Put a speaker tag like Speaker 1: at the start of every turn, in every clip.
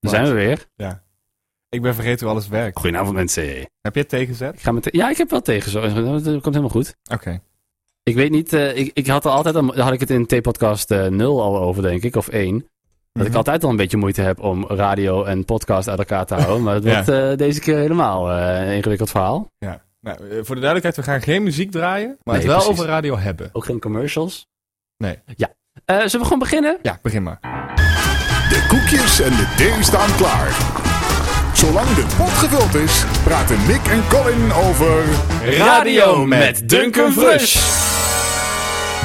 Speaker 1: Daar zijn we weer.
Speaker 2: Ik ben vergeten hoe alles werkt.
Speaker 1: Goedenavond mensen.
Speaker 2: Heb je het tegenzet?
Speaker 1: Ik ga met ja, ik heb wel tegen. Zo. Dat komt helemaal goed.
Speaker 2: Oké.
Speaker 1: Ik weet niet, eh, ik, ik had er altijd, al- daar had ik het in T-podcast eh, 0 al over denk ik, of 1. Dat ik
Speaker 2: Mhm.
Speaker 1: altijd al een beetje moeite heb om radio en podcast uit elkaar te houden. Maar dat
Speaker 2: Ja.
Speaker 1: wordt eh, deze keer helemaal eh, een ingewikkeld verhaal.
Speaker 2: Ja. Nou, eh, voor de duidelijkheid, we gaan geen muziek draaien,
Speaker 1: Nee,
Speaker 2: maar het wel
Speaker 1: precies.
Speaker 2: over radio hebben.
Speaker 1: Ook geen commercials.
Speaker 2: Nee.
Speaker 1: Ja. Eh, zullen we gewoon beginnen?
Speaker 2: Ja, begin maar.
Speaker 3: De koekjes en de thee staan klaar. Zolang de pot gevuld is, praten Nick en Colin over
Speaker 2: Radio met Duncan Frush.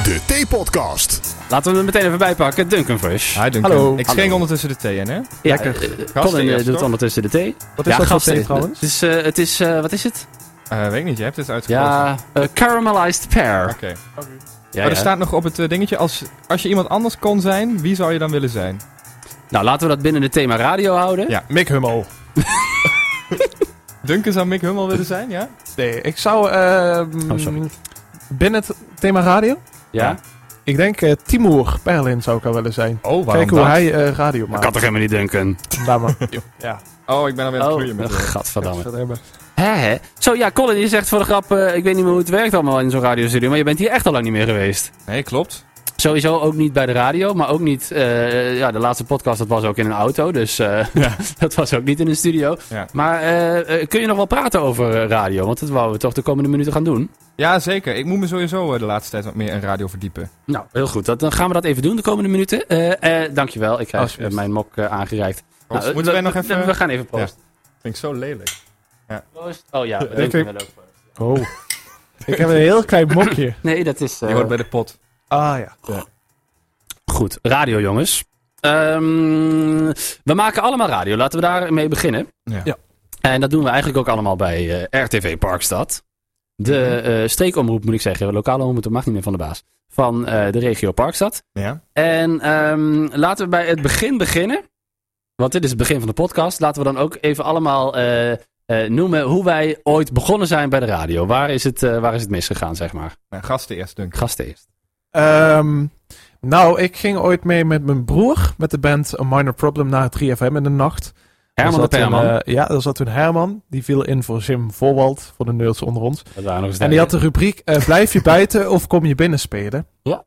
Speaker 3: de theepodcast.
Speaker 1: Laten we hem meteen even bijpakken. Duncan Fresh.
Speaker 2: Hi, Duncan.
Speaker 4: Hallo.
Speaker 2: Ik schenk ondertussen de thee in, hè?
Speaker 1: Ja,
Speaker 4: Lekker.
Speaker 1: eh,
Speaker 2: Gasten
Speaker 1: Colin eh,
Speaker 2: eerst,
Speaker 1: doet
Speaker 2: toch?
Speaker 1: ondertussen de thee.
Speaker 4: Wat is dat voor thee
Speaker 1: gasten.
Speaker 4: trouwens?
Speaker 1: Het is, eh, het is eh, wat is het?
Speaker 2: Eh, weet ik niet, je hebt het uitgekozen.
Speaker 1: Ja, eh, caramelized pear. Oh,
Speaker 2: Oké.
Speaker 1: Ja,
Speaker 2: maar er
Speaker 1: ja.
Speaker 2: staat nog op het eh, dingetje, als, als je iemand anders kon zijn, wie zou je dan willen zijn?
Speaker 1: Nou, laten we dat binnen het thema radio houden.
Speaker 2: Ja.
Speaker 4: Mick Hummel.
Speaker 2: Duncan zou Mick Hummel willen zijn, ja?
Speaker 4: Nee, ik zou... ehm,
Speaker 1: Oh, sorry.
Speaker 4: binnen het thema radio?
Speaker 1: Ja?
Speaker 4: Ik denk eh Timur Perlin zou ik al willen zijn.
Speaker 2: Oh,
Speaker 4: Kijk hoe hij eh, radio
Speaker 1: Dat kan
Speaker 4: maakt.
Speaker 1: toch helemaal niet, Duncan?
Speaker 4: Daar maar. ja.
Speaker 2: Oh, ik ben alweer aan het groeien met
Speaker 1: oh,
Speaker 2: de-
Speaker 1: gadverdamme.
Speaker 4: Dat hebben.
Speaker 1: Hè, hè? Zo, ja, Colin, je zegt voor de grap, eh, ik weet niet meer hoe het werkt allemaal in zo'n radiostudio, maar je bent hier echt al lang niet meer geweest.
Speaker 2: Nee, klopt.
Speaker 1: Sowieso ook niet bij de radio, maar ook niet, eh, ja, de laatste podcast, dat was ook in een auto, dus eh, dat was ook niet in een studio.
Speaker 2: Ja.
Speaker 1: Maar eh, eh, kun je nog wel praten over eh, radio? Want dat wouden we toch de komende minuten gaan doen.
Speaker 2: Ja, zeker. Ik moet me sowieso eh, de laatste tijd wat meer in radio verdiepen.
Speaker 1: Nou, heel goed. Dat, dan gaan we dat even doen de komende minuten. Eh, eh, dankjewel, ik krijg
Speaker 2: Alsjeblieft.
Speaker 1: eh, mijn mok eh, aangereikt. Nou,
Speaker 2: Proost.
Speaker 1: eh,
Speaker 2: Moeten wij
Speaker 1: we-
Speaker 2: nog even...
Speaker 1: We, we gaan even proosten.
Speaker 2: Vind ik zo lelijk.
Speaker 1: Proost. Oh ja,
Speaker 4: Ja,
Speaker 1: dank je
Speaker 4: ik-
Speaker 1: wel ook.
Speaker 4: Oh. ik heb een heel klein mokje.
Speaker 1: Nee, dat is... eh,
Speaker 2: Je hoort bij de pot.
Speaker 4: Ah ja.
Speaker 1: Goed, radio jongens. Ehm, we maken allemaal radio. Laten we daarmee beginnen.
Speaker 4: Ja.
Speaker 1: En dat doen we eigenlijk ook allemaal bij eh, RTV Parkstad. De eh, streekomroep moet ik zeggen. Lokale omroep, dat mag niet meer van de baas. Van eh, de regio Parkstad.
Speaker 2: Ja.
Speaker 1: En ehm, laten we bij het begin beginnen. Want dit is het begin van de podcast. Laten we dan ook even allemaal eh, eh, noemen hoe wij ooit begonnen zijn bij de radio. Waar is het, eh, waar is het misgegaan, zeg maar?
Speaker 2: Nou, gasten eerst, Duncan.
Speaker 1: Gast eerst.
Speaker 4: Ehm, nou, ik ging ooit mee met mijn broer, met de band A Minor Problem, naar 3FM in de nacht.
Speaker 1: Herman de
Speaker 4: Daar zat toen,
Speaker 1: Perman.
Speaker 4: eh, ja, daar zat toen Herman. Die viel in voor Jim Voorwald, voor de nerds onder ons.
Speaker 1: Dat waren nog eens
Speaker 4: En die had
Speaker 1: tijden.
Speaker 4: de rubriek eh, Blijf je buiten of kom je binnen spelen?
Speaker 1: Ja.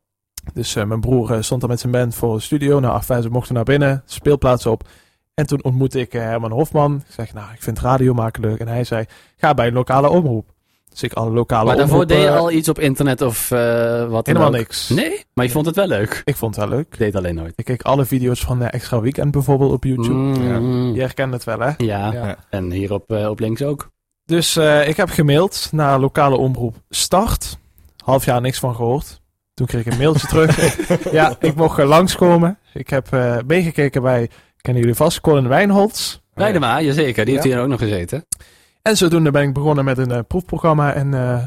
Speaker 4: Dus eh, mijn broer eh, stond daar met zijn band voor de studio. Nou, afijn, ze mochten naar binnen, speelplaats op. En toen ontmoette ik eh, Herman Hofman. Ik zeg, nou, ik vind radio maken leuk. En hij zei, ga bij een lokale omroep. Dus ik alle lokale
Speaker 1: Maar daarvoor
Speaker 4: omroepen,
Speaker 1: deed je
Speaker 4: eh,
Speaker 1: al iets op internet of eh, wat dan
Speaker 4: helemaal
Speaker 1: ook?
Speaker 4: niks.
Speaker 1: Nee, maar je vond het wel leuk.
Speaker 4: Ik vond het wel leuk.
Speaker 1: Ik deed alleen nooit.
Speaker 4: Ik keek alle video's van eh, Extra Weekend bijvoorbeeld op YouTube.
Speaker 1: Mm,
Speaker 4: Je
Speaker 1: ja.
Speaker 4: herkent het wel, hè?
Speaker 2: Ja.
Speaker 1: en hier op, eh, op links ook.
Speaker 4: Dus eh, ik heb gemaild naar lokale omroep Start. Half jaar niks van gehoord. Toen kreeg ik een mailtje terug. ja, ik mocht eh, langskomen. Ik heb eh, meegekeken bij, kennen jullie vast, Colin Wijnholds.
Speaker 1: Leidema, jazeker. Die heeft hier ook nog gezeten.
Speaker 4: En zodoende ben ik begonnen met een eh, proefprogramma. En eh,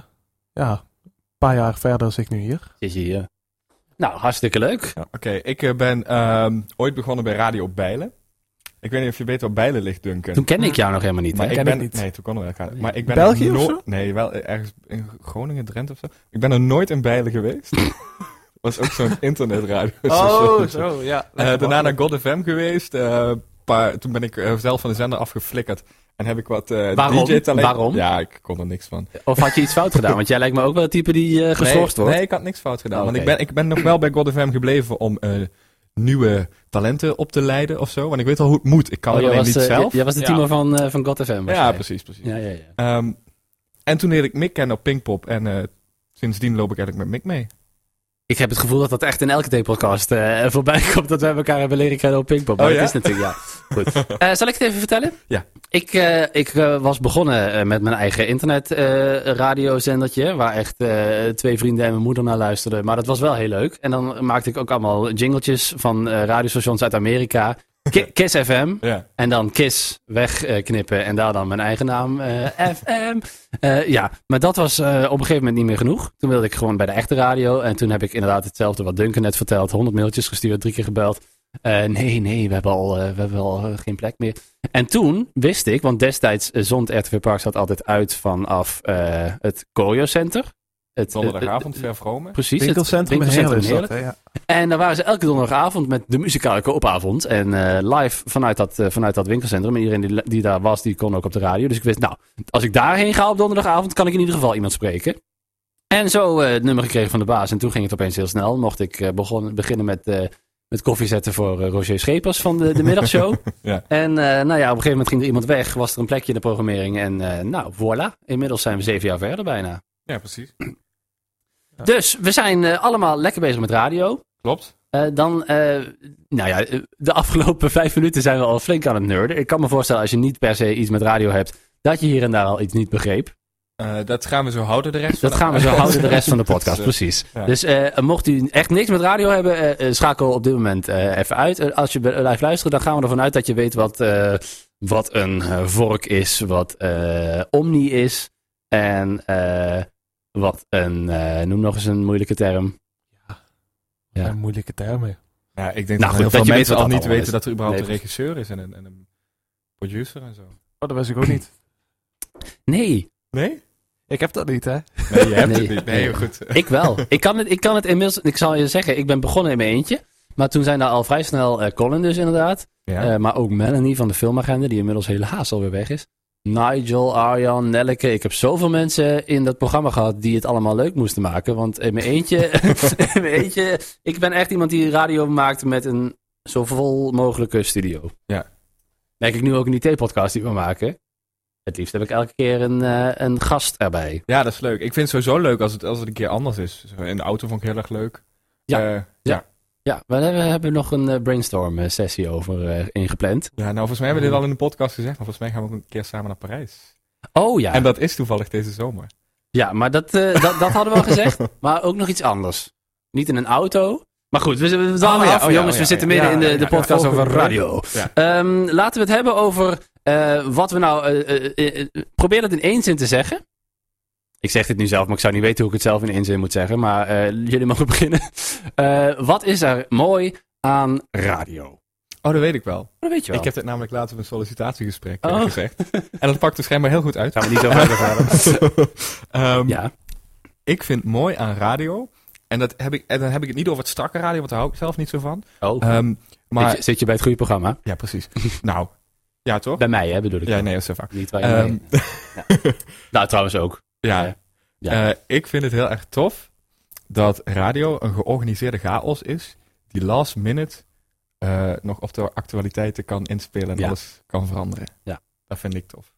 Speaker 4: ja, een paar jaar verder zit ik nu hier.
Speaker 1: Zit je hier. Nou, hartstikke leuk.
Speaker 2: Oké, ik eh, ben ehm, ooit begonnen bij Radio Bijlen. Ik weet niet of je weet waar Bijlen ligt, Duncan.
Speaker 1: Toen kende ik jou nog helemaal niet.
Speaker 2: maar
Speaker 1: Hè?
Speaker 4: hè?
Speaker 2: ik
Speaker 4: Ken
Speaker 2: ben,
Speaker 4: ik niet.
Speaker 2: Nee, toen konden we elkaar. Maar ik ben
Speaker 4: België
Speaker 2: er
Speaker 4: of
Speaker 2: noo-
Speaker 4: zo?
Speaker 2: Nee, wel eh, ergens in Groningen, Drenthe of zo. Ik ben er nooit in Bijlen geweest. was ook zo'n internetradio.
Speaker 4: ja.
Speaker 2: Eh, daarna naar God FM geweest. eh, paar, toen ben ik eh, zelf van de zender afgeflikkerd. En heb ik wat eh,
Speaker 1: Waarom?
Speaker 2: DJ-talent.
Speaker 1: Waarom?
Speaker 2: Ja, ik kon er niks van.
Speaker 1: Of had je iets fout gedaan? Want jij lijkt me ook wel het type die eh, geschorst
Speaker 2: nee,
Speaker 1: wordt.
Speaker 2: Nee, ik had niks fout gedaan.
Speaker 1: Oh,
Speaker 2: Want ik
Speaker 1: oké.
Speaker 2: ben, ik ben nog wel bij GodFM gebleven om eh, nieuwe talenten op te leiden of zo. Want ik weet al hoe het moet. Ik kan
Speaker 1: Oh,
Speaker 2: het
Speaker 1: jij
Speaker 2: alleen
Speaker 1: was,
Speaker 2: niet
Speaker 1: eh,
Speaker 2: zelf.
Speaker 1: jij- jij was de
Speaker 2: Ja.
Speaker 1: teamer van, eh van GodFM.
Speaker 2: ja,
Speaker 1: waarschijnlijk.
Speaker 2: precies, precies.
Speaker 1: Ja, ja, ja.
Speaker 2: Ehm, en toen leerde ik Mick kennen op Pinkpop. En eh, sindsdien loop ik eigenlijk met Mick mee.
Speaker 1: Ik heb het gevoel dat dat echt in elke T-podcast eh, voorbij komt dat wij elkaar hebben leren kennen op Pinkpop. Maar
Speaker 2: Oh,
Speaker 1: dat
Speaker 2: ja?
Speaker 1: is natuurlijk, ja. Goed. Eh, zal ik het even vertellen?
Speaker 2: Ja.
Speaker 1: Ik, eh, ik eh, was begonnen eh, met mijn eigen internet eh, radiozendertje, waar echt eh, twee vrienden en mijn moeder naar luisterden. Maar dat was wel heel leuk. En dan maakte ik ook allemaal jingletjes van eh, radiostations uit Amerika. Ki- Kiss FM.
Speaker 2: Ja.
Speaker 1: En dan Kiss wegknippen en daar dan mijn eigen naam eh, FM. Eh, ja, maar dat was eh, op een gegeven moment niet meer genoeg. Toen wilde ik gewoon bij de echte radio. En toen heb ik inderdaad hetzelfde wat Duncan net verteld. 100 mailtjes gestuurd, drie keer gebeld. Eh, nee, nee, we hebben al, eh, we hebben al eh, geen plek meer. En toen wist ik, want destijds eh, zond RTV Park zat altijd uit vanaf eh, het Corio Center. het, het-
Speaker 2: Donderdagavond, ver Vromen.
Speaker 1: Precies,
Speaker 4: Winkelcentrum in
Speaker 1: winkelcentrum
Speaker 4: Heerlen is
Speaker 1: Heerlen.
Speaker 4: dat, hè, ja.
Speaker 1: En daar waren ze elke donderdagavond met de muzikale koopavond. En eh, live vanuit dat, eh, vanuit dat winkelcentrum. En iedereen die, die daar was, die kon ook op de radio. Dus ik wist, nou, als ik daarheen ga op donderdagavond, kan ik in ieder geval iemand spreken. En zo eh, het nummer gekregen van de baas. En toen ging het opeens heel snel. Mocht ik eh, begon, beginnen met, eh, met koffie zetten voor eh, Roger Schepers van de, de middagshow.
Speaker 2: Ja.
Speaker 1: En eh, nou ja, op een gegeven moment ging er iemand weg. Was er een plekje in de programmering. En eh, nou, voilà. Inmiddels zijn we zeven jaar verder bijna.
Speaker 2: Ja, precies.
Speaker 1: Dus we zijn eh, allemaal lekker bezig met radio.
Speaker 2: Klopt.
Speaker 1: Eh, dan, eh, nou ja, eh, de afgelopen vijf minuten zijn we al flink aan het nerden. Ik kan me voorstellen, als je niet per se iets met radio hebt, dat je hier en daar al iets niet begreep.
Speaker 2: Eh, dat gaan we zo houden de rest
Speaker 1: Dat
Speaker 2: van
Speaker 1: gaan we zo houden de rest van de
Speaker 2: Dat
Speaker 1: podcast,
Speaker 2: is, eh,
Speaker 1: precies.
Speaker 2: ja.
Speaker 1: Dus eh, mocht u echt niks met radio hebben, eh, eh, schakel op dit moment eh, even uit. Eh, als je be- blijft luisteren, dan gaan we ervan uit dat je weet wat, eh, wat een eh, vork is, wat eh, omni is en eh, wat een, eh, noem nog eens een moeilijke term. Ja.
Speaker 4: Ja, moeilijke termen.
Speaker 2: Ja, ik
Speaker 1: Nou
Speaker 2: denk dat
Speaker 1: goed,
Speaker 2: heel
Speaker 1: dat
Speaker 2: veel
Speaker 1: je weet
Speaker 2: mensen
Speaker 1: wat
Speaker 2: al
Speaker 1: dat
Speaker 2: niet
Speaker 1: allemaal
Speaker 2: weten
Speaker 1: is.
Speaker 2: dat er überhaupt
Speaker 1: Nee,
Speaker 2: een regisseur is en een, en een producer en zo.
Speaker 4: Oh, dat wist ik ook niet.
Speaker 1: Nee,
Speaker 2: Nee?
Speaker 4: Ik heb dat niet, hè?
Speaker 2: Nee, je hebt
Speaker 1: Nee.
Speaker 2: het niet. Nee,
Speaker 1: Nee. Eh,
Speaker 2: goed.
Speaker 1: Ik wel. Ik kan, het, ik kan het inmiddels. Ik zal je zeggen, ik ben begonnen in mijn eentje. Maar toen zijn daar al vrij snel eh, Colin, dus inderdaad.
Speaker 2: Ja.
Speaker 1: Eh, maar ook Melanie van de filmagenda, die inmiddels helaas alweer weg is. Nigel, Arjan, Nelleke. Ik heb zoveel mensen in dat programma gehad die het allemaal leuk moesten maken. Want in mijn eentje. in mijn eentje ik ben echt iemand die radio maakt met een zo vol mogelijke studio.
Speaker 2: Ja.
Speaker 1: Merk ik nu ook in die T-podcast die we maken. Het liefst heb ik elke keer een, eh, een gast erbij.
Speaker 2: Ja, dat is leuk. Ik vind het sowieso leuk als het, als het een keer anders is. Zo, In de auto vond ik heel erg leuk.
Speaker 1: Ja.
Speaker 2: Eh, ja.
Speaker 1: Ja, we hebben, we hebben nog een eh, brainstorm eh, sessie over eh, ingepland.
Speaker 2: ja, nou volgens mij hebben we dit al in de podcast gezegd, maar volgens mij gaan we ook een keer samen naar Parijs.
Speaker 1: Oh ja,
Speaker 2: En dat is toevallig deze zomer.
Speaker 1: ja maar dat, eh, dat, dat hadden we al gezegd. Maar ook nog iets anders. Niet in een auto. Maar goed, we, we we dwalen
Speaker 2: Oh ja,
Speaker 1: af.
Speaker 2: oh ja,
Speaker 1: jongens,
Speaker 2: oh ja,
Speaker 1: we zitten
Speaker 2: ja,
Speaker 1: midden
Speaker 2: ja,
Speaker 1: in de,
Speaker 2: ja,
Speaker 1: de
Speaker 2: ja,
Speaker 1: podcast
Speaker 2: ja,
Speaker 1: over
Speaker 2: volgende
Speaker 1: radio.
Speaker 2: Ja.
Speaker 1: Ehm, laten we het hebben over eh, wat we nou... eh, eh, eh, eh, probeer dat in één zin te zeggen. Ik zeg dit nu zelf, maar ik zou niet weten hoe ik het zelf in één zin moet zeggen. Maar eh, jullie mogen beginnen. Eh, wat is er mooi aan radio?
Speaker 2: Oh, dat weet ik wel.
Speaker 1: Dat weet je wel.
Speaker 2: Ik heb dit namelijk laatst op een sollicitatiegesprek eh,
Speaker 1: Oh.
Speaker 2: gezegd. En dat pakte schijnbaar heel goed uit.
Speaker 1: Gaan we niet zo verder gaan.
Speaker 2: Ehm,
Speaker 1: Ja,
Speaker 2: Ik vind mooi aan radio, en, dat heb ik, en dan heb ik het niet over het strakke radio, want daar hou ik zelf niet zo van.
Speaker 1: oh.
Speaker 2: Ehm, maar,
Speaker 1: zit, je, zit je bij het goede programma?
Speaker 2: ja precies. nou, ja toch?
Speaker 1: Bij mij, hè, bedoel ik.
Speaker 2: Ja, nee, dat is heel vaak.
Speaker 1: Niet waar je
Speaker 2: Ehm,
Speaker 1: mee- Nou, trouwens ook.
Speaker 2: Ja.
Speaker 1: Ja.
Speaker 2: Eh, ik vind het heel erg tof dat radio een georganiseerde chaos is, die last minute eh, nog op de actualiteiten kan inspelen en
Speaker 1: Ja.
Speaker 2: alles kan veranderen.
Speaker 1: Ja.
Speaker 2: Dat vind ik tof.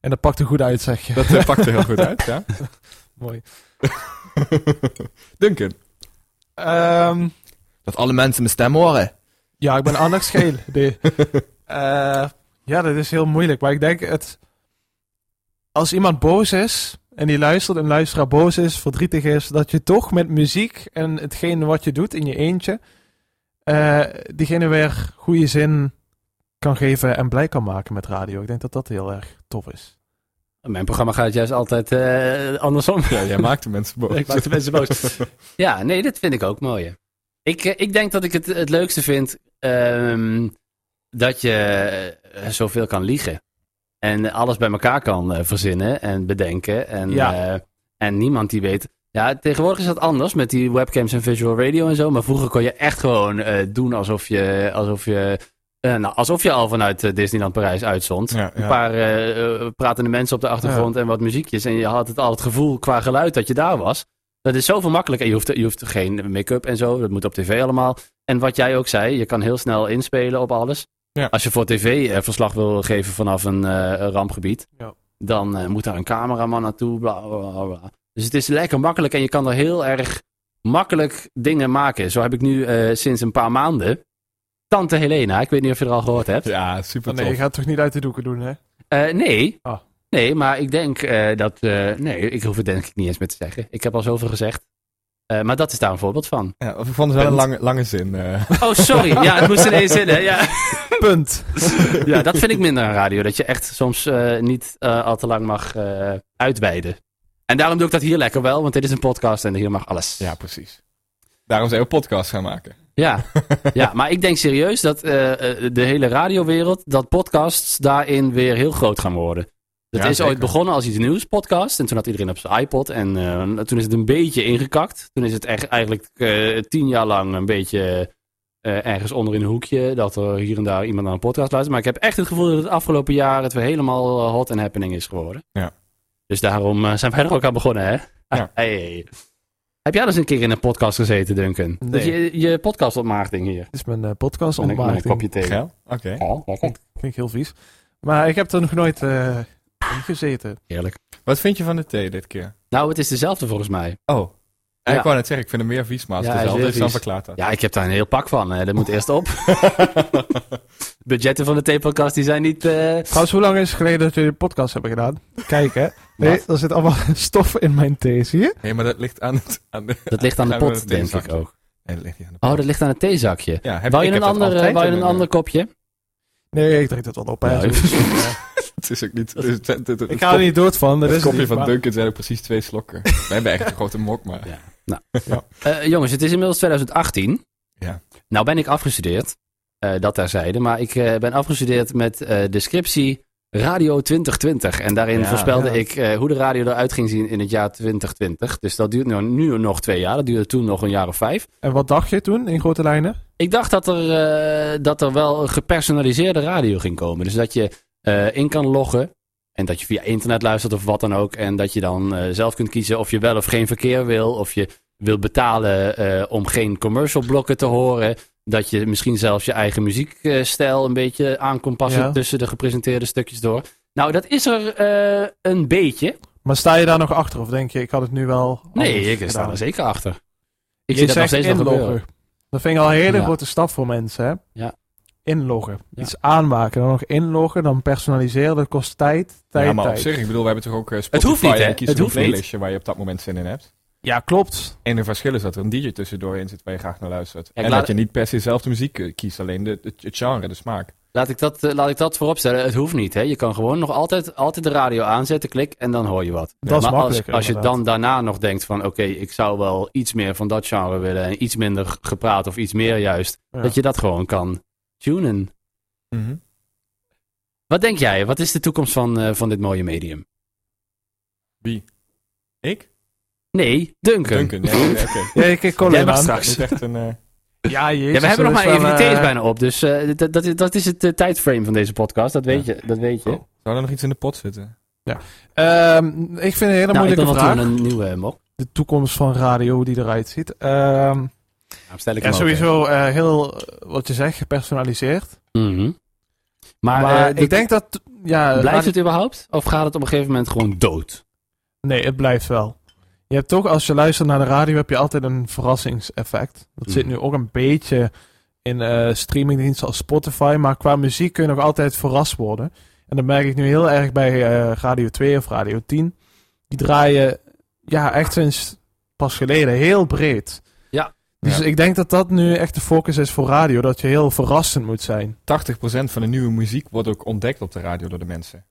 Speaker 4: En dat pakt er goed uit, zeg je.
Speaker 2: Dat eh, pakt er heel goed uit, ja.
Speaker 4: Mooi.
Speaker 2: Duncan.
Speaker 4: Ehm,
Speaker 2: Dat alle mensen mijn stem horen.
Speaker 4: ja, ik ben aandachtsgeel. Nee. Eh, ja, dat is heel moeilijk. Maar ik denk, het, als iemand boos is en die luistert en luisteraar boos is, verdrietig is, dat je toch met muziek en hetgeen wat je doet in je eentje, eh, diegene weer goede zin kan geven en blij kan maken met radio. Ik denk dat dat heel erg tof is.
Speaker 1: Mijn programma gaat juist altijd eh, andersom.
Speaker 2: Ja, jij maakt de mensen boos.
Speaker 1: ik maak de mensen boos. Ja, nee, dat vind ik ook mooi. hè. Ik, eh, ik denk dat ik het het leukste vind ehm, dat je eh, zoveel kan liegen. En alles bij elkaar kan eh, verzinnen en bedenken. En,
Speaker 4: Ja.
Speaker 1: eh, en niemand die weet. Ja, tegenwoordig is dat anders met die webcams en visual radio en zo. Maar vroeger kon je echt gewoon eh, doen alsof je, alsof, je, eh, nou, alsof je al vanuit eh, Disneyland Parijs uitzond.
Speaker 2: Ja,
Speaker 1: Een
Speaker 2: ja.
Speaker 1: paar eh, eh, pratende mensen op de achtergrond en wat muziekjes. En je had het al het gevoel qua geluid dat je daar was. Dat is zoveel makkelijker. Je hoeft, je hoeft geen make-up en zo. Dat moet op tv allemaal. En wat jij ook zei, je kan heel snel inspelen op alles.
Speaker 2: Ja.
Speaker 1: Als je voor tv eh, verslag wil geven vanaf een eh, rampgebied,
Speaker 4: Ja.
Speaker 1: dan eh, moet daar een cameraman naartoe. Bla, bla, bla, bla. Dus het is lekker makkelijk en je kan er heel erg makkelijk dingen maken. Zo heb ik nu eh, sinds een paar maanden Tante Helena. Ik weet niet of je er al gehoord hebt.
Speaker 2: Ja, super
Speaker 4: Maar nee, je
Speaker 2: tof.
Speaker 4: gaat het toch niet uit de doeken doen, hè?
Speaker 1: Eh, nee.
Speaker 4: Ah.
Speaker 1: Nee, maar ik denk eh, dat... eh, nee, ik hoef het denk ik niet eens meer te zeggen. Ik heb al zoveel gezegd. Eh, maar dat is daar een voorbeeld van.
Speaker 2: Ja, ik vond het wel een lange, lange zin. eh.
Speaker 1: Oh, sorry. Ja, het moest in één zin, hè. Ja.
Speaker 4: Punt.
Speaker 1: ja, dat vind ik minder aan radio. Dat je echt soms eh, niet eh, al te lang mag eh, uitweiden. En daarom doe ik dat hier lekker wel, want dit is een podcast en hier mag alles.
Speaker 2: ja, precies. Daarom zijn we podcasts gaan maken.
Speaker 1: Ja, ja maar ik denk serieus dat eh, eh, de hele radiowereld, dat podcasts daarin weer heel groot gaan worden. Dat
Speaker 2: Ja,
Speaker 1: is
Speaker 2: zeker.
Speaker 1: ooit begonnen als iets nieuws, podcast. En toen had iedereen op zijn iPod. En eh, toen is het een beetje ingekakt. Toen is het echt, eigenlijk eh, tien jaar lang een beetje eh, ergens onder in een hoekje. Dat er hier en daar iemand naar een podcast luistert. Maar ik heb echt het gevoel dat het afgelopen jaar het weer helemaal eh, hot en happening is geworden.
Speaker 2: Ja.
Speaker 1: Dus daarom eh, zijn wij er ook aan begonnen, hè? Ah,
Speaker 2: Ja.
Speaker 1: Hey. Heb jij al eens een keer in een podcast gezeten, Duncan? Dat
Speaker 4: Nee.
Speaker 1: je, je podcast opmaakting hier.
Speaker 4: Dit is mijn eh, podcast
Speaker 1: En ik maak een
Speaker 4: ontmaakting.
Speaker 1: kopje thee.
Speaker 2: Geil? Oké.
Speaker 1: Ja, lekker.
Speaker 4: Klinkt heel vies. Maar ik heb er nog nooit eh, in gezeten.
Speaker 1: Heerlijk.
Speaker 2: Wat vind je van de thee dit keer?
Speaker 1: Nou, het is dezelfde volgens mij.
Speaker 2: Oh. Ja,
Speaker 1: Ja.
Speaker 2: Ik wou net zeggen, ik vind hem meer vies, maar als
Speaker 1: Ja,
Speaker 2: het
Speaker 1: hij is
Speaker 2: dezelfde
Speaker 1: weer
Speaker 2: is,
Speaker 1: vies.
Speaker 2: dan verklaart dat.
Speaker 1: Ja, ik heb daar een heel pak van. hè. Dat moet eerst op. Budgetten van de theepodcast die zijn niet... eh,
Speaker 4: Trouwens, hoe lang is het geleden dat jullie de podcast hebben gedaan? Kijk hè. Nee, er zit allemaal stof in mijn thee, zie je?
Speaker 2: Nee, maar dat ligt aan het... Aan de,
Speaker 1: Dat ligt aan de
Speaker 2: Gaan we
Speaker 1: pot,
Speaker 2: het
Speaker 1: denk ik
Speaker 2: theezakje.
Speaker 1: ook.
Speaker 2: nee, dat ligt niet aan de
Speaker 1: Oh, dat ligt aan het theezakje.
Speaker 2: ja, heb,
Speaker 1: Wou
Speaker 2: ik
Speaker 1: je een,
Speaker 2: heb dat
Speaker 1: ander, eh,
Speaker 2: altijd
Speaker 1: wou je
Speaker 2: in
Speaker 1: een
Speaker 2: mijn-
Speaker 1: ander kopje?
Speaker 4: Nee, ik drink dat wel op. hè.
Speaker 1: Ja,
Speaker 4: Zo-
Speaker 2: Het is ook niet... het is- het- het- het-
Speaker 4: ik ga er niet dood van. Dat
Speaker 2: Het
Speaker 4: is
Speaker 2: kopje
Speaker 4: niet,
Speaker 2: van
Speaker 4: maar-
Speaker 2: Duncan zijn ook precies twee slokken. We hebben echt een grote mok, maar...
Speaker 1: Ja. Eh, jongens, het is inmiddels 2018.
Speaker 2: Ja.
Speaker 1: Nou ben ik afgestudeerd. eh, dat terzijde. Maar ik eh, ben afgestudeerd met eh, de scriptie Radio 2020. En daarin
Speaker 2: Ja,
Speaker 1: voorspelde
Speaker 4: ja.
Speaker 1: ik eh, hoe de radio eruit ging zien in het jaar 2020. Dus dat duurt nu, nu nog twee jaar. Dat duurde toen nog een jaar of vijf.
Speaker 4: En wat dacht je toen in grote lijnen?
Speaker 1: Ik dacht dat er, eh, dat er wel een gepersonaliseerde radio ging komen. Dus dat je eh, in kan loggen. En dat je via internet luistert of wat dan ook. En dat je dan eh, zelf kunt kiezen of je wel of geen verkeer wil. Of je wil betalen eh, om geen commercial blokken te horen. Dat je misschien zelfs je eigen muziekstijl een beetje aan kon passen
Speaker 4: Ja.
Speaker 1: tussen de gepresenteerde stukjes door. Nou, dat is er eh, een beetje.
Speaker 4: Maar sta je daar nog achter of denk je, ik had het nu wel.
Speaker 1: Nee,
Speaker 4: anders
Speaker 1: ik sta
Speaker 4: gedaan?
Speaker 1: er zeker achter. Ik
Speaker 4: Je
Speaker 1: zie dat nog
Speaker 4: zegt
Speaker 1: steeds nog
Speaker 4: inloggen.
Speaker 1: gebeuren.
Speaker 4: Dat vind ik al een hele
Speaker 1: Ja.
Speaker 4: grote stap voor mensen, hè?
Speaker 1: Ja.
Speaker 4: Inloggen.
Speaker 1: Ja.
Speaker 4: Iets aanmaken, dan nog inloggen, dan personaliseren. Dat kost tijd, tijd,
Speaker 2: ja, maar op
Speaker 4: tijd.
Speaker 2: zich, ik bedoel, we hebben toch ook eh, Spotify.
Speaker 1: hoeft niet,
Speaker 2: en
Speaker 1: hè?
Speaker 2: je kiest
Speaker 1: Het
Speaker 2: een
Speaker 1: hoeft niet.
Speaker 2: playlistje waar je op dat moment zin in hebt.
Speaker 4: Ja, klopt.
Speaker 2: En het verschil is dat er een DJ tussendoor in zit waar je graag naar luistert.
Speaker 1: ik
Speaker 2: en
Speaker 1: laat-
Speaker 2: dat je niet per se zelf de muziek eh, kiest, alleen de, het, het genre, de smaak.
Speaker 1: Laat ik dat, eh, laat ik dat vooropstellen. Het hoeft niet. Hè? Je kan gewoon nog altijd, altijd de radio aanzetten, klik en dan hoor je wat.
Speaker 4: dat is
Speaker 1: maar als,
Speaker 4: makkelijker.
Speaker 1: als je
Speaker 4: inderdaad.
Speaker 1: dan daarna nog denkt van oké, ik zou wel iets meer van dat genre willen en iets minder gepraat of iets meer juist,
Speaker 4: Ja.
Speaker 1: dat je dat gewoon kan tunen. Mhm. Wat denk jij? Wat is de toekomst van, eh, van dit mooie medium?
Speaker 2: Ik?
Speaker 1: Nee, Duncan.
Speaker 2: Duncan. Ja, oké.
Speaker 4: Ja, ik kijk Colin
Speaker 1: Jij mag
Speaker 4: aan.
Speaker 1: straks.
Speaker 2: Dit is echt een... eh,
Speaker 4: Ja, jezus,
Speaker 1: Ja, we hebben nog
Speaker 4: dat
Speaker 1: maar
Speaker 4: is
Speaker 1: even
Speaker 4: wel,
Speaker 1: die thees
Speaker 4: eh,
Speaker 1: bijna op, dus eh, dat, dat, is- dat is het eh, tijdframe van deze podcast, dat weet je. Dat weet je.
Speaker 2: Oh, Zou er nog iets in de pot zitten?
Speaker 4: ehm, ik vind het een hele
Speaker 1: nou, ik ben
Speaker 4: moeilijke
Speaker 1: wel
Speaker 4: vraag.
Speaker 1: toe aan een nieuwe eh, mok.
Speaker 4: De toekomst van radio, hoe die eruit ziet. Ehm,
Speaker 1: Daarom Nou, stel ik
Speaker 4: ja,
Speaker 1: hem ook, hè.
Speaker 4: sowieso eh, heel, eh, wat je zegt, gepersonaliseerd.
Speaker 1: Mhm. Maar,
Speaker 4: Maar,
Speaker 1: eh,
Speaker 4: ik
Speaker 1: dit-
Speaker 4: denk dat... Ja,
Speaker 1: Blijft het überhaupt? Of gaat het op een gegeven moment gewoon dood?
Speaker 4: Nee, het blijft wel. Je hebt toch, als je luistert naar de radio, heb je altijd een verrassingseffect. Dat
Speaker 1: Mhm.
Speaker 4: zit nu ook een beetje in eh, streamingdiensten als Spotify. Maar qua muziek kun je nog altijd verrast worden. En dat merk ik nu heel erg bij eh, Radio 2 of Radio 10. Die draaien, ja, echt sinds pas geleden heel breed.
Speaker 1: Ja.
Speaker 4: Dus
Speaker 2: Ja.
Speaker 4: ik denk dat dat nu echt de focus is voor radio. Dat je heel verrassend moet zijn.
Speaker 2: 80% van de nieuwe muziek wordt ook ontdekt op de radio door de mensen.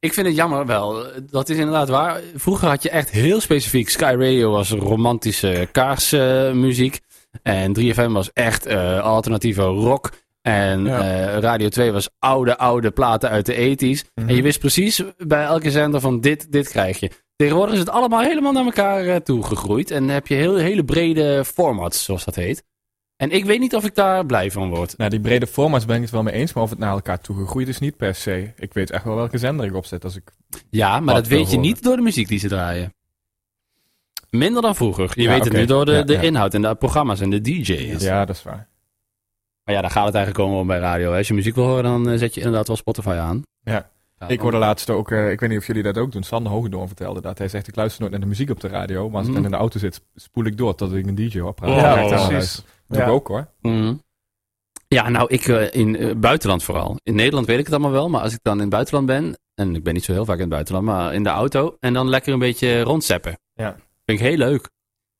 Speaker 1: Ik vind het jammer wel. Dat is inderdaad waar. Vroeger had je echt heel specifiek. Sky Radio was romantische kaarsmuziek. en 3FM was echt eh, alternatieve rock. En
Speaker 4: Ja.
Speaker 1: eh, Radio 2 was oude, oude platen uit de 80s.
Speaker 2: Mhm.
Speaker 1: En je wist precies bij elke zender van dit, dit krijg je. Tegenwoordig is het allemaal helemaal naar elkaar toe toegegroeid. En heb je heel, hele brede formats, zoals dat heet. En ik weet niet of ik daar blij van word.
Speaker 2: Nou, die brede formats ben ik het wel mee eens, maar of het naar elkaar toegegroeid is niet per se. Ik weet echt wel welke zender ik opzet als ik
Speaker 1: Ja, maar
Speaker 2: Wat
Speaker 1: dat weet
Speaker 2: wil
Speaker 1: je
Speaker 2: horen.
Speaker 1: niet door de muziek die ze draaien. Minder dan vroeger. Je
Speaker 2: Ja,
Speaker 1: weet het
Speaker 2: oké.
Speaker 1: nu door de,
Speaker 2: Ja,
Speaker 1: de
Speaker 2: ja.
Speaker 1: inhoud en de programma's en de DJ's.
Speaker 2: Ja, dat is waar.
Speaker 1: Maar ja, daar gaat het eigenlijk gewoon om bij radio. hè. Als je muziek wil horen, dan eh, zet je inderdaad wel Spotify aan.
Speaker 2: Ja. Ik hoorde laatst ook, eh, ik weet niet of jullie dat ook doen, Sander Hogendoorn vertelde dat. Hij zegt, ik luister nooit naar de muziek op de radio, maar als ik
Speaker 1: Mhm.
Speaker 2: dan in de auto zit, spoel ik door tot ik een DJ opraad.
Speaker 1: Oh,
Speaker 2: Dan
Speaker 1: ja,
Speaker 2: ga ik daar naar
Speaker 4: precies.
Speaker 2: luisteren. Dat doe
Speaker 4: Ja.
Speaker 2: ik ook hoor.
Speaker 1: Mhm. Ja, nou, ik eh, in eh, buitenland vooral. In Nederland weet ik het allemaal wel, maar als ik dan in het buitenland ben... en ik ben niet zo heel vaak in het buitenland, maar in de auto... en dan lekker een beetje rondzeppen.
Speaker 2: Ja.
Speaker 1: Vind ik heel leuk.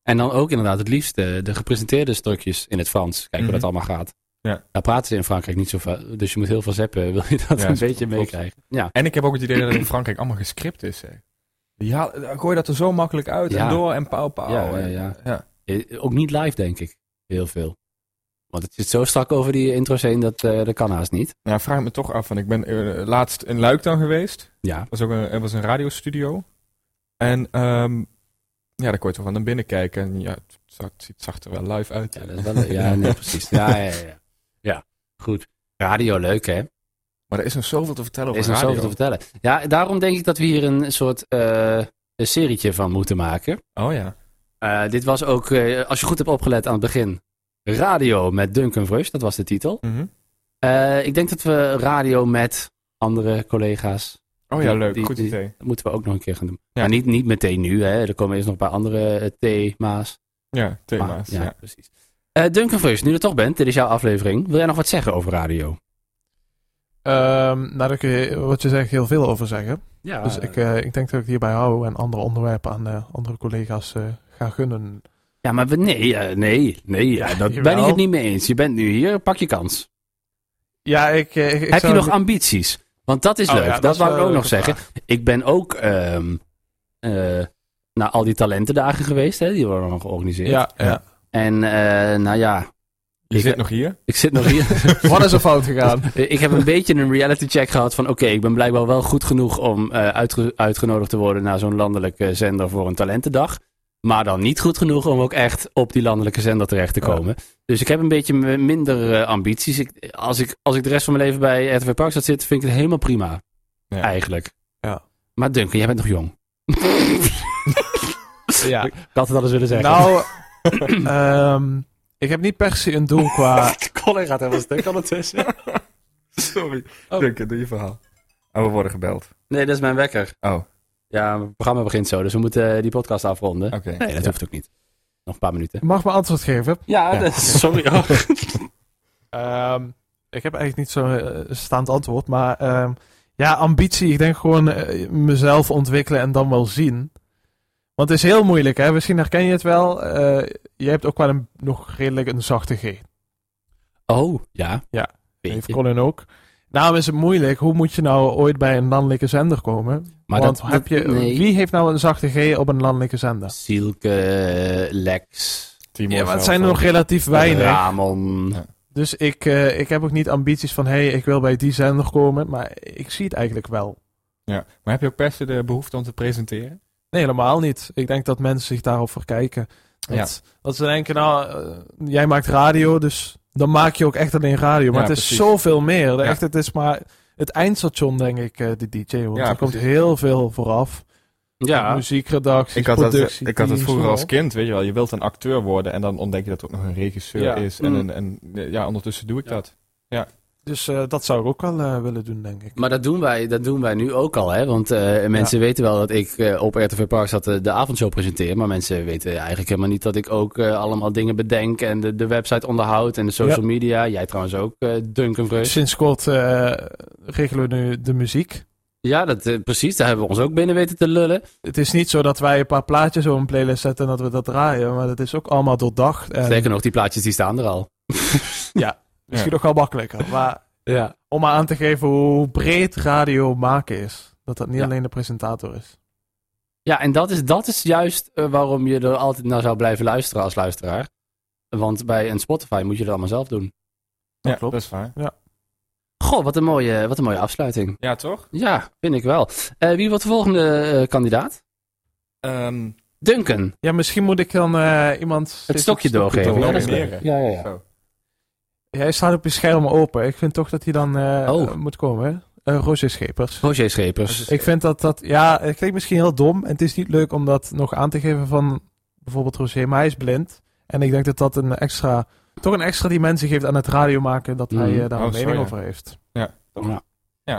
Speaker 1: En dan ook inderdaad het liefst eh, de gepresenteerde stukjes in het Frans. Kijken hoe dat
Speaker 2: Mhm.
Speaker 1: allemaal gaat.
Speaker 2: Ja.
Speaker 1: Daar praten ze in Frankrijk niet zo veel. Dus je moet heel veel zeppen, wil je dat
Speaker 2: Ja,
Speaker 1: een
Speaker 2: klopt,
Speaker 1: beetje
Speaker 2: klopt.
Speaker 1: meekrijgen. Ja.
Speaker 2: En ik heb ook het idee dat het in Frankrijk allemaal gescript is. Hè. Ja, eh, gooi dat er zo makkelijk uit
Speaker 1: Ja.
Speaker 2: en door en pauw pauw.
Speaker 1: Ja, ja,
Speaker 2: En-
Speaker 1: ja.
Speaker 2: ja.
Speaker 1: Eh, Ook niet live, denk ik. Heel veel. Want het zit zo strak over die intro's heen, dat, eh, dat kan haast niet.
Speaker 2: Nou, vraag ik me toch af, want ik ben eh, laatst in Luik dan geweest.
Speaker 1: Ja,
Speaker 2: was ook een, er was een radiostudio. En ehm, ja, daar kon je toch wel naar binnen kijken. En ja, het zag, het zag er wel live uit.
Speaker 1: ja, dat is wel, ja nee, precies. Ja, ja, ja, ja. Ja, goed. Radio leuk, hè?
Speaker 2: Maar er is nog zoveel te vertellen
Speaker 1: Er
Speaker 2: over
Speaker 1: is nog
Speaker 2: radio.
Speaker 1: zoveel te vertellen. Ja, daarom denk ik dat we hier een soort eh, een serietje van moeten maken.
Speaker 2: Oh ja.
Speaker 1: Eh, dit was ook, eh, als je goed hebt opgelet aan het begin, Radio met Duncan Vrus, dat was de titel.
Speaker 2: Mhm.
Speaker 1: Eh, ik denk dat we radio met andere collega's,
Speaker 2: Oh ja,
Speaker 1: Die-
Speaker 2: leuk.
Speaker 1: die-
Speaker 2: Goed
Speaker 1: die-
Speaker 2: idee.
Speaker 1: dat moeten we ook nog een keer gaan doen.
Speaker 2: Ja.
Speaker 1: Maar niet, niet meteen nu, hè. er komen eerst nog een paar andere eh, thema's.
Speaker 2: Ja, thema's.
Speaker 1: Maar-
Speaker 2: ja.
Speaker 1: precies. Eh, Duncan Vrus, nu je er toch bent, dit is jouw aflevering. Wil jij nog wat zeggen over radio?
Speaker 4: Ehm, nou, daar kun je wat je zegt heel veel over zeggen.
Speaker 1: Ja,
Speaker 4: dus ik, eh, ik denk dat ik hierbij hou en andere onderwerpen aan eh, andere collega's eh, ga gunnen.
Speaker 1: ja maar we, nee, eh, nee, nee, ja, dat ben ik
Speaker 4: jawel.
Speaker 1: het niet mee eens. Je bent nu hier, pak je kans.
Speaker 4: Ja, ik... eh, ik, ik
Speaker 1: Heb je
Speaker 4: zou-
Speaker 1: nog ambities? Want dat is
Speaker 4: Oh ja,
Speaker 1: leuk. dat,
Speaker 4: dat is
Speaker 1: wou
Speaker 4: wel
Speaker 1: ik ook
Speaker 4: een
Speaker 1: nog
Speaker 4: leuke
Speaker 1: zeggen. Ik ben ook ehm, eh, naar al die talentendagen geweest. Hè? Die worden nog georganiseerd.
Speaker 4: Ja, ja.
Speaker 1: En eh, nou ja,
Speaker 2: Je
Speaker 1: Ik-
Speaker 2: zit nog hier.
Speaker 1: ik zit nog hier.
Speaker 4: Wat is er fout gegaan?
Speaker 1: Eh, ik heb een beetje een reality check gehad van... Oké, ik ben blijkbaar wel goed genoeg om eh, uitge- uitgenodigd te worden... naar zo'n landelijke zender voor een talentendag. Maar dan niet goed genoeg om ook echt op die landelijke zender terecht te
Speaker 4: Ja.
Speaker 1: komen. Dus ik heb een beetje m- minder eh, ambities. Ik, als, ik, als ik de rest van mijn leven bij RTV Parkstad zit, vind ik het helemaal prima.
Speaker 2: Ja.
Speaker 1: Eigenlijk.
Speaker 4: Ja.
Speaker 1: Maar Duncan, jij bent nog jong.
Speaker 4: ja.
Speaker 1: Ik had het alles willen zeggen.
Speaker 4: Nou, ehm, ik heb niet per se een doel qua...
Speaker 1: Colin gaat helemaal stuk ondertussen.
Speaker 2: Sorry.
Speaker 1: Oh.
Speaker 2: Duncan, doe je verhaal. En we worden gebeld.
Speaker 1: Nee, dat is mijn wekker.
Speaker 2: Oh, oké.
Speaker 1: Ja, het programma begint zo, dus we moeten eh, die podcast afronden. Nee, dat
Speaker 2: Ja.
Speaker 1: hoeft ook niet. Nog een paar minuten.
Speaker 4: Mag me antwoord geven?
Speaker 1: Ja,
Speaker 2: dat-
Speaker 1: sorry.
Speaker 4: Ehm, ik heb eigenlijk niet zo'n eh, staand antwoord, maar ehm, ja, ambitie. Ik denk gewoon eh, mezelf ontwikkelen en dan wel zien. Want het is heel moeilijk, hè? Misschien herken je het wel. Eh, je hebt ook wel een, nog redelijk een zachte G.
Speaker 1: Oh, ja.
Speaker 4: Ja.
Speaker 1: Beetje.
Speaker 4: Heeft Colin ook. Daarom is het moeilijk. Hoe moet je nou ooit bij een landelijke zender komen?
Speaker 1: Maar
Speaker 4: Want
Speaker 1: dat,
Speaker 4: heb
Speaker 1: dat-
Speaker 4: je,
Speaker 1: nee.
Speaker 4: wie heeft nou een zachte G op een landelijke zender?
Speaker 1: Zielke, Lex,
Speaker 2: Timo
Speaker 4: Ja, maar het
Speaker 2: zelf
Speaker 4: zijn er
Speaker 2: ook.
Speaker 4: nog relatief weinig.
Speaker 1: Ramon.
Speaker 2: Ja.
Speaker 4: Dus ik, eh, ik heb ook niet ambities van... hé, hey, ik wil bij die zender komen. Maar ik zie het eigenlijk wel.
Speaker 2: Ja. Maar heb je ook per se de behoefte om te presenteren?
Speaker 4: Nee, helemaal niet. Ik denk dat mensen zich daarop verkijken. Dat, dat ze denken, nou, eh, jij maakt radio, dus dan maak je ook echt alleen radio. Maar
Speaker 2: Ja,
Speaker 4: het is
Speaker 2: precies.
Speaker 4: zoveel meer. De
Speaker 2: Ja.
Speaker 4: Echt, het is maar het eindstation, denk ik, eh, de DJ. Want
Speaker 2: Ja,
Speaker 4: er komt
Speaker 2: precies.
Speaker 4: heel veel vooraf.
Speaker 1: Ja.
Speaker 4: Muziekredactie,
Speaker 2: Ik had, dat,
Speaker 4: productie.
Speaker 2: ik had dat
Speaker 4: teams,
Speaker 2: vroeger
Speaker 4: noem
Speaker 2: als
Speaker 4: maar op.
Speaker 2: kind, weet je wel. Je wilt een acteur worden en dan ontdek je dat er ook nog een regisseur
Speaker 4: Ja.
Speaker 2: is. En,
Speaker 1: Mm.
Speaker 2: en, en ja, ondertussen doe ik
Speaker 1: Ja.
Speaker 2: dat.
Speaker 4: Dus eh, dat zou ik ook wel eh, willen doen, denk ik.
Speaker 1: Maar dat doen, wij, dat doen wij nu ook al, hè? Want eh, mensen weten wel dat ik eh, op RTV Park zat de, de avondshow presenteer. Maar mensen weten eigenlijk helemaal niet dat ik ook eh, allemaal dingen bedenk. En de, de website onderhoud en de social media. Jij trouwens ook, eh Duncan Vreus.
Speaker 4: Sinds kort eh, regelen we nu de muziek.
Speaker 1: Ja, dat, eh, precies. Daar hebben we ons ook binnen weten te lullen.
Speaker 4: Het is niet zo dat wij een paar plaatjes op een playlist zetten en dat we dat draaien. Maar dat is ook allemaal doordacht. En
Speaker 1: Sterker nog, die plaatjes die staan er al.
Speaker 4: misschien ook wel makkelijker. Maar
Speaker 1: Ja.
Speaker 4: om maar aan te geven hoe breed radio maken is. Dat dat niet
Speaker 1: Ja.
Speaker 4: alleen de presentator is.
Speaker 1: Ja, en dat is, dat is juist eh, waarom je er altijd naar zou blijven luisteren als luisteraar. Want bij een Spotify moet je dat allemaal zelf doen.
Speaker 4: Dat
Speaker 2: ja,
Speaker 4: klopt.
Speaker 2: dat is waar.
Speaker 1: Goh, wat een mooie, wat een mooie afsluiting.
Speaker 2: Ja, toch?
Speaker 1: Ja, vind ik wel. Eh, wie wordt de volgende eh, kandidaat?
Speaker 2: Ehm,
Speaker 1: Duncan.
Speaker 4: Ja, misschien moet ik dan eh, iemand...
Speaker 1: Het
Speaker 4: steeds
Speaker 1: stokje doorgeven.
Speaker 2: door-
Speaker 1: Ja, dat is leuk.
Speaker 2: nomineren.
Speaker 1: Ja, ja, ja.
Speaker 2: zo.
Speaker 4: Hij staat op je scherm open. Ik vind toch dat hij dan eh,
Speaker 1: Oh.
Speaker 4: moet komen. hè? Eh Roger Schepers.
Speaker 1: Roger Schepers.
Speaker 4: Ik vind dat dat... Ja, het klinkt misschien heel dom. En het is niet leuk om dat nog aan te geven van bijvoorbeeld Roger. Maar hij is blind. En ik denk dat dat een extra... Toch een extra dimensie geeft aan het radio maken. Dat hij
Speaker 1: Mm.
Speaker 4: eh, daar
Speaker 2: Oh,
Speaker 4: een
Speaker 2: zo,
Speaker 4: mening
Speaker 2: ja.
Speaker 4: over heeft.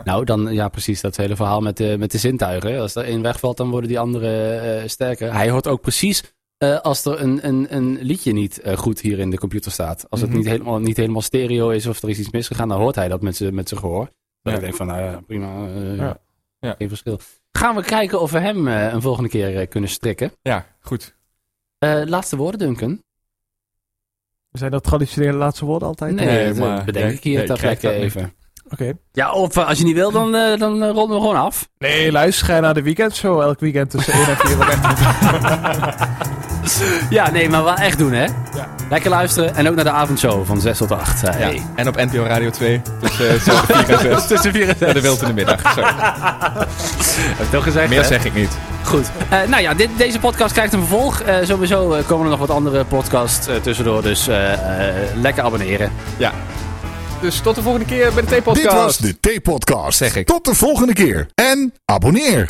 Speaker 1: Nou, dan ja, precies dat hele verhaal met de, met de zintuigen. Als er één wegvalt, dan worden die andere eh, sterker. Hij hoort ook precies eh, als er een, een, een liedje niet eh, goed hier in de computer staat. Als het
Speaker 4: Mhm.
Speaker 1: niet helemaal, niet helemaal stereo is of er is iets misgegaan, dan hoort hij dat met zijn met zijn gehoor. Dan ik
Speaker 2: Ja.
Speaker 1: denk van, nou ja, prima. eh,
Speaker 4: Ja.
Speaker 2: Ja.
Speaker 1: Geen verschil. Gaan we kijken of we hem eh, een volgende keer eh, kunnen strikken.
Speaker 2: Ja, goed.
Speaker 1: Eh, laatste woorden, Duncan.
Speaker 4: Zijn dat traditionele laatste woorden altijd?
Speaker 1: Nee,
Speaker 2: Nee,
Speaker 1: dat
Speaker 2: maar
Speaker 1: bedenk
Speaker 2: jij-
Speaker 1: ik hier
Speaker 2: jij
Speaker 1: ter
Speaker 2: krijgt
Speaker 1: plekke
Speaker 2: dat niet.
Speaker 1: even.
Speaker 4: Oké.
Speaker 1: Ja, of eh, als je niet wil, dan, eh, dan eh, ronden we gewoon af.
Speaker 4: Nee, luister jij naar de weekendshow elk weekend tussen 1 en 4 op
Speaker 1: Ja, nee, maar wel echt doen, hè?
Speaker 4: Ja.
Speaker 1: Lekker luisteren en ook naar de avondshow van 6 tot 8. eh.
Speaker 2: Ja. En op NPO Radio 2 tussen eh, 7 en 4 en 6.
Speaker 1: Tussen 4 en 6.
Speaker 2: Ja, de wild in de middag. Sorry.
Speaker 1: Heb ik toch gezegd,
Speaker 2: Meer
Speaker 1: hè?
Speaker 2: zeg ik niet.
Speaker 1: Goed. Eh, nou ja, dit, deze podcast krijgt een vervolg. Eh, sowieso eh, komen er nog wat andere podcasts eh, tussendoor. Dus eh, eh, lekker abonneren.
Speaker 2: Ja. Dus tot de volgende keer bij de
Speaker 3: Dit
Speaker 2: T-podcast.
Speaker 3: was de T-podcast.
Speaker 2: Zeg ik.
Speaker 3: Tot de volgende keer. En abonneer.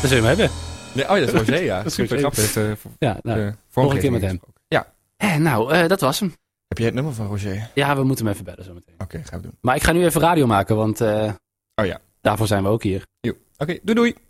Speaker 1: Dat zullen we hem hebben.
Speaker 2: Ja, oh ja, dat is Roger, ja.
Speaker 1: Dat is
Speaker 2: Super
Speaker 1: Roger.
Speaker 2: grappig. Heeft, eh, v-
Speaker 1: Ja, nou.
Speaker 2: eh,
Speaker 1: volgende
Speaker 2: vorige
Speaker 1: keer met hem.
Speaker 2: gesproken. Ja.
Speaker 1: Eh, nou, eh, dat was hem.
Speaker 2: Heb jij het nummer van Roger? Oké,
Speaker 1: Ja, we moeten hem even bellen zometeen.
Speaker 2: gaan we doen.
Speaker 1: Maar ik ga nu even radio maken, want eh,
Speaker 2: Oh ja.
Speaker 1: daarvoor zijn we ook hier.
Speaker 2: Oké, doei doei.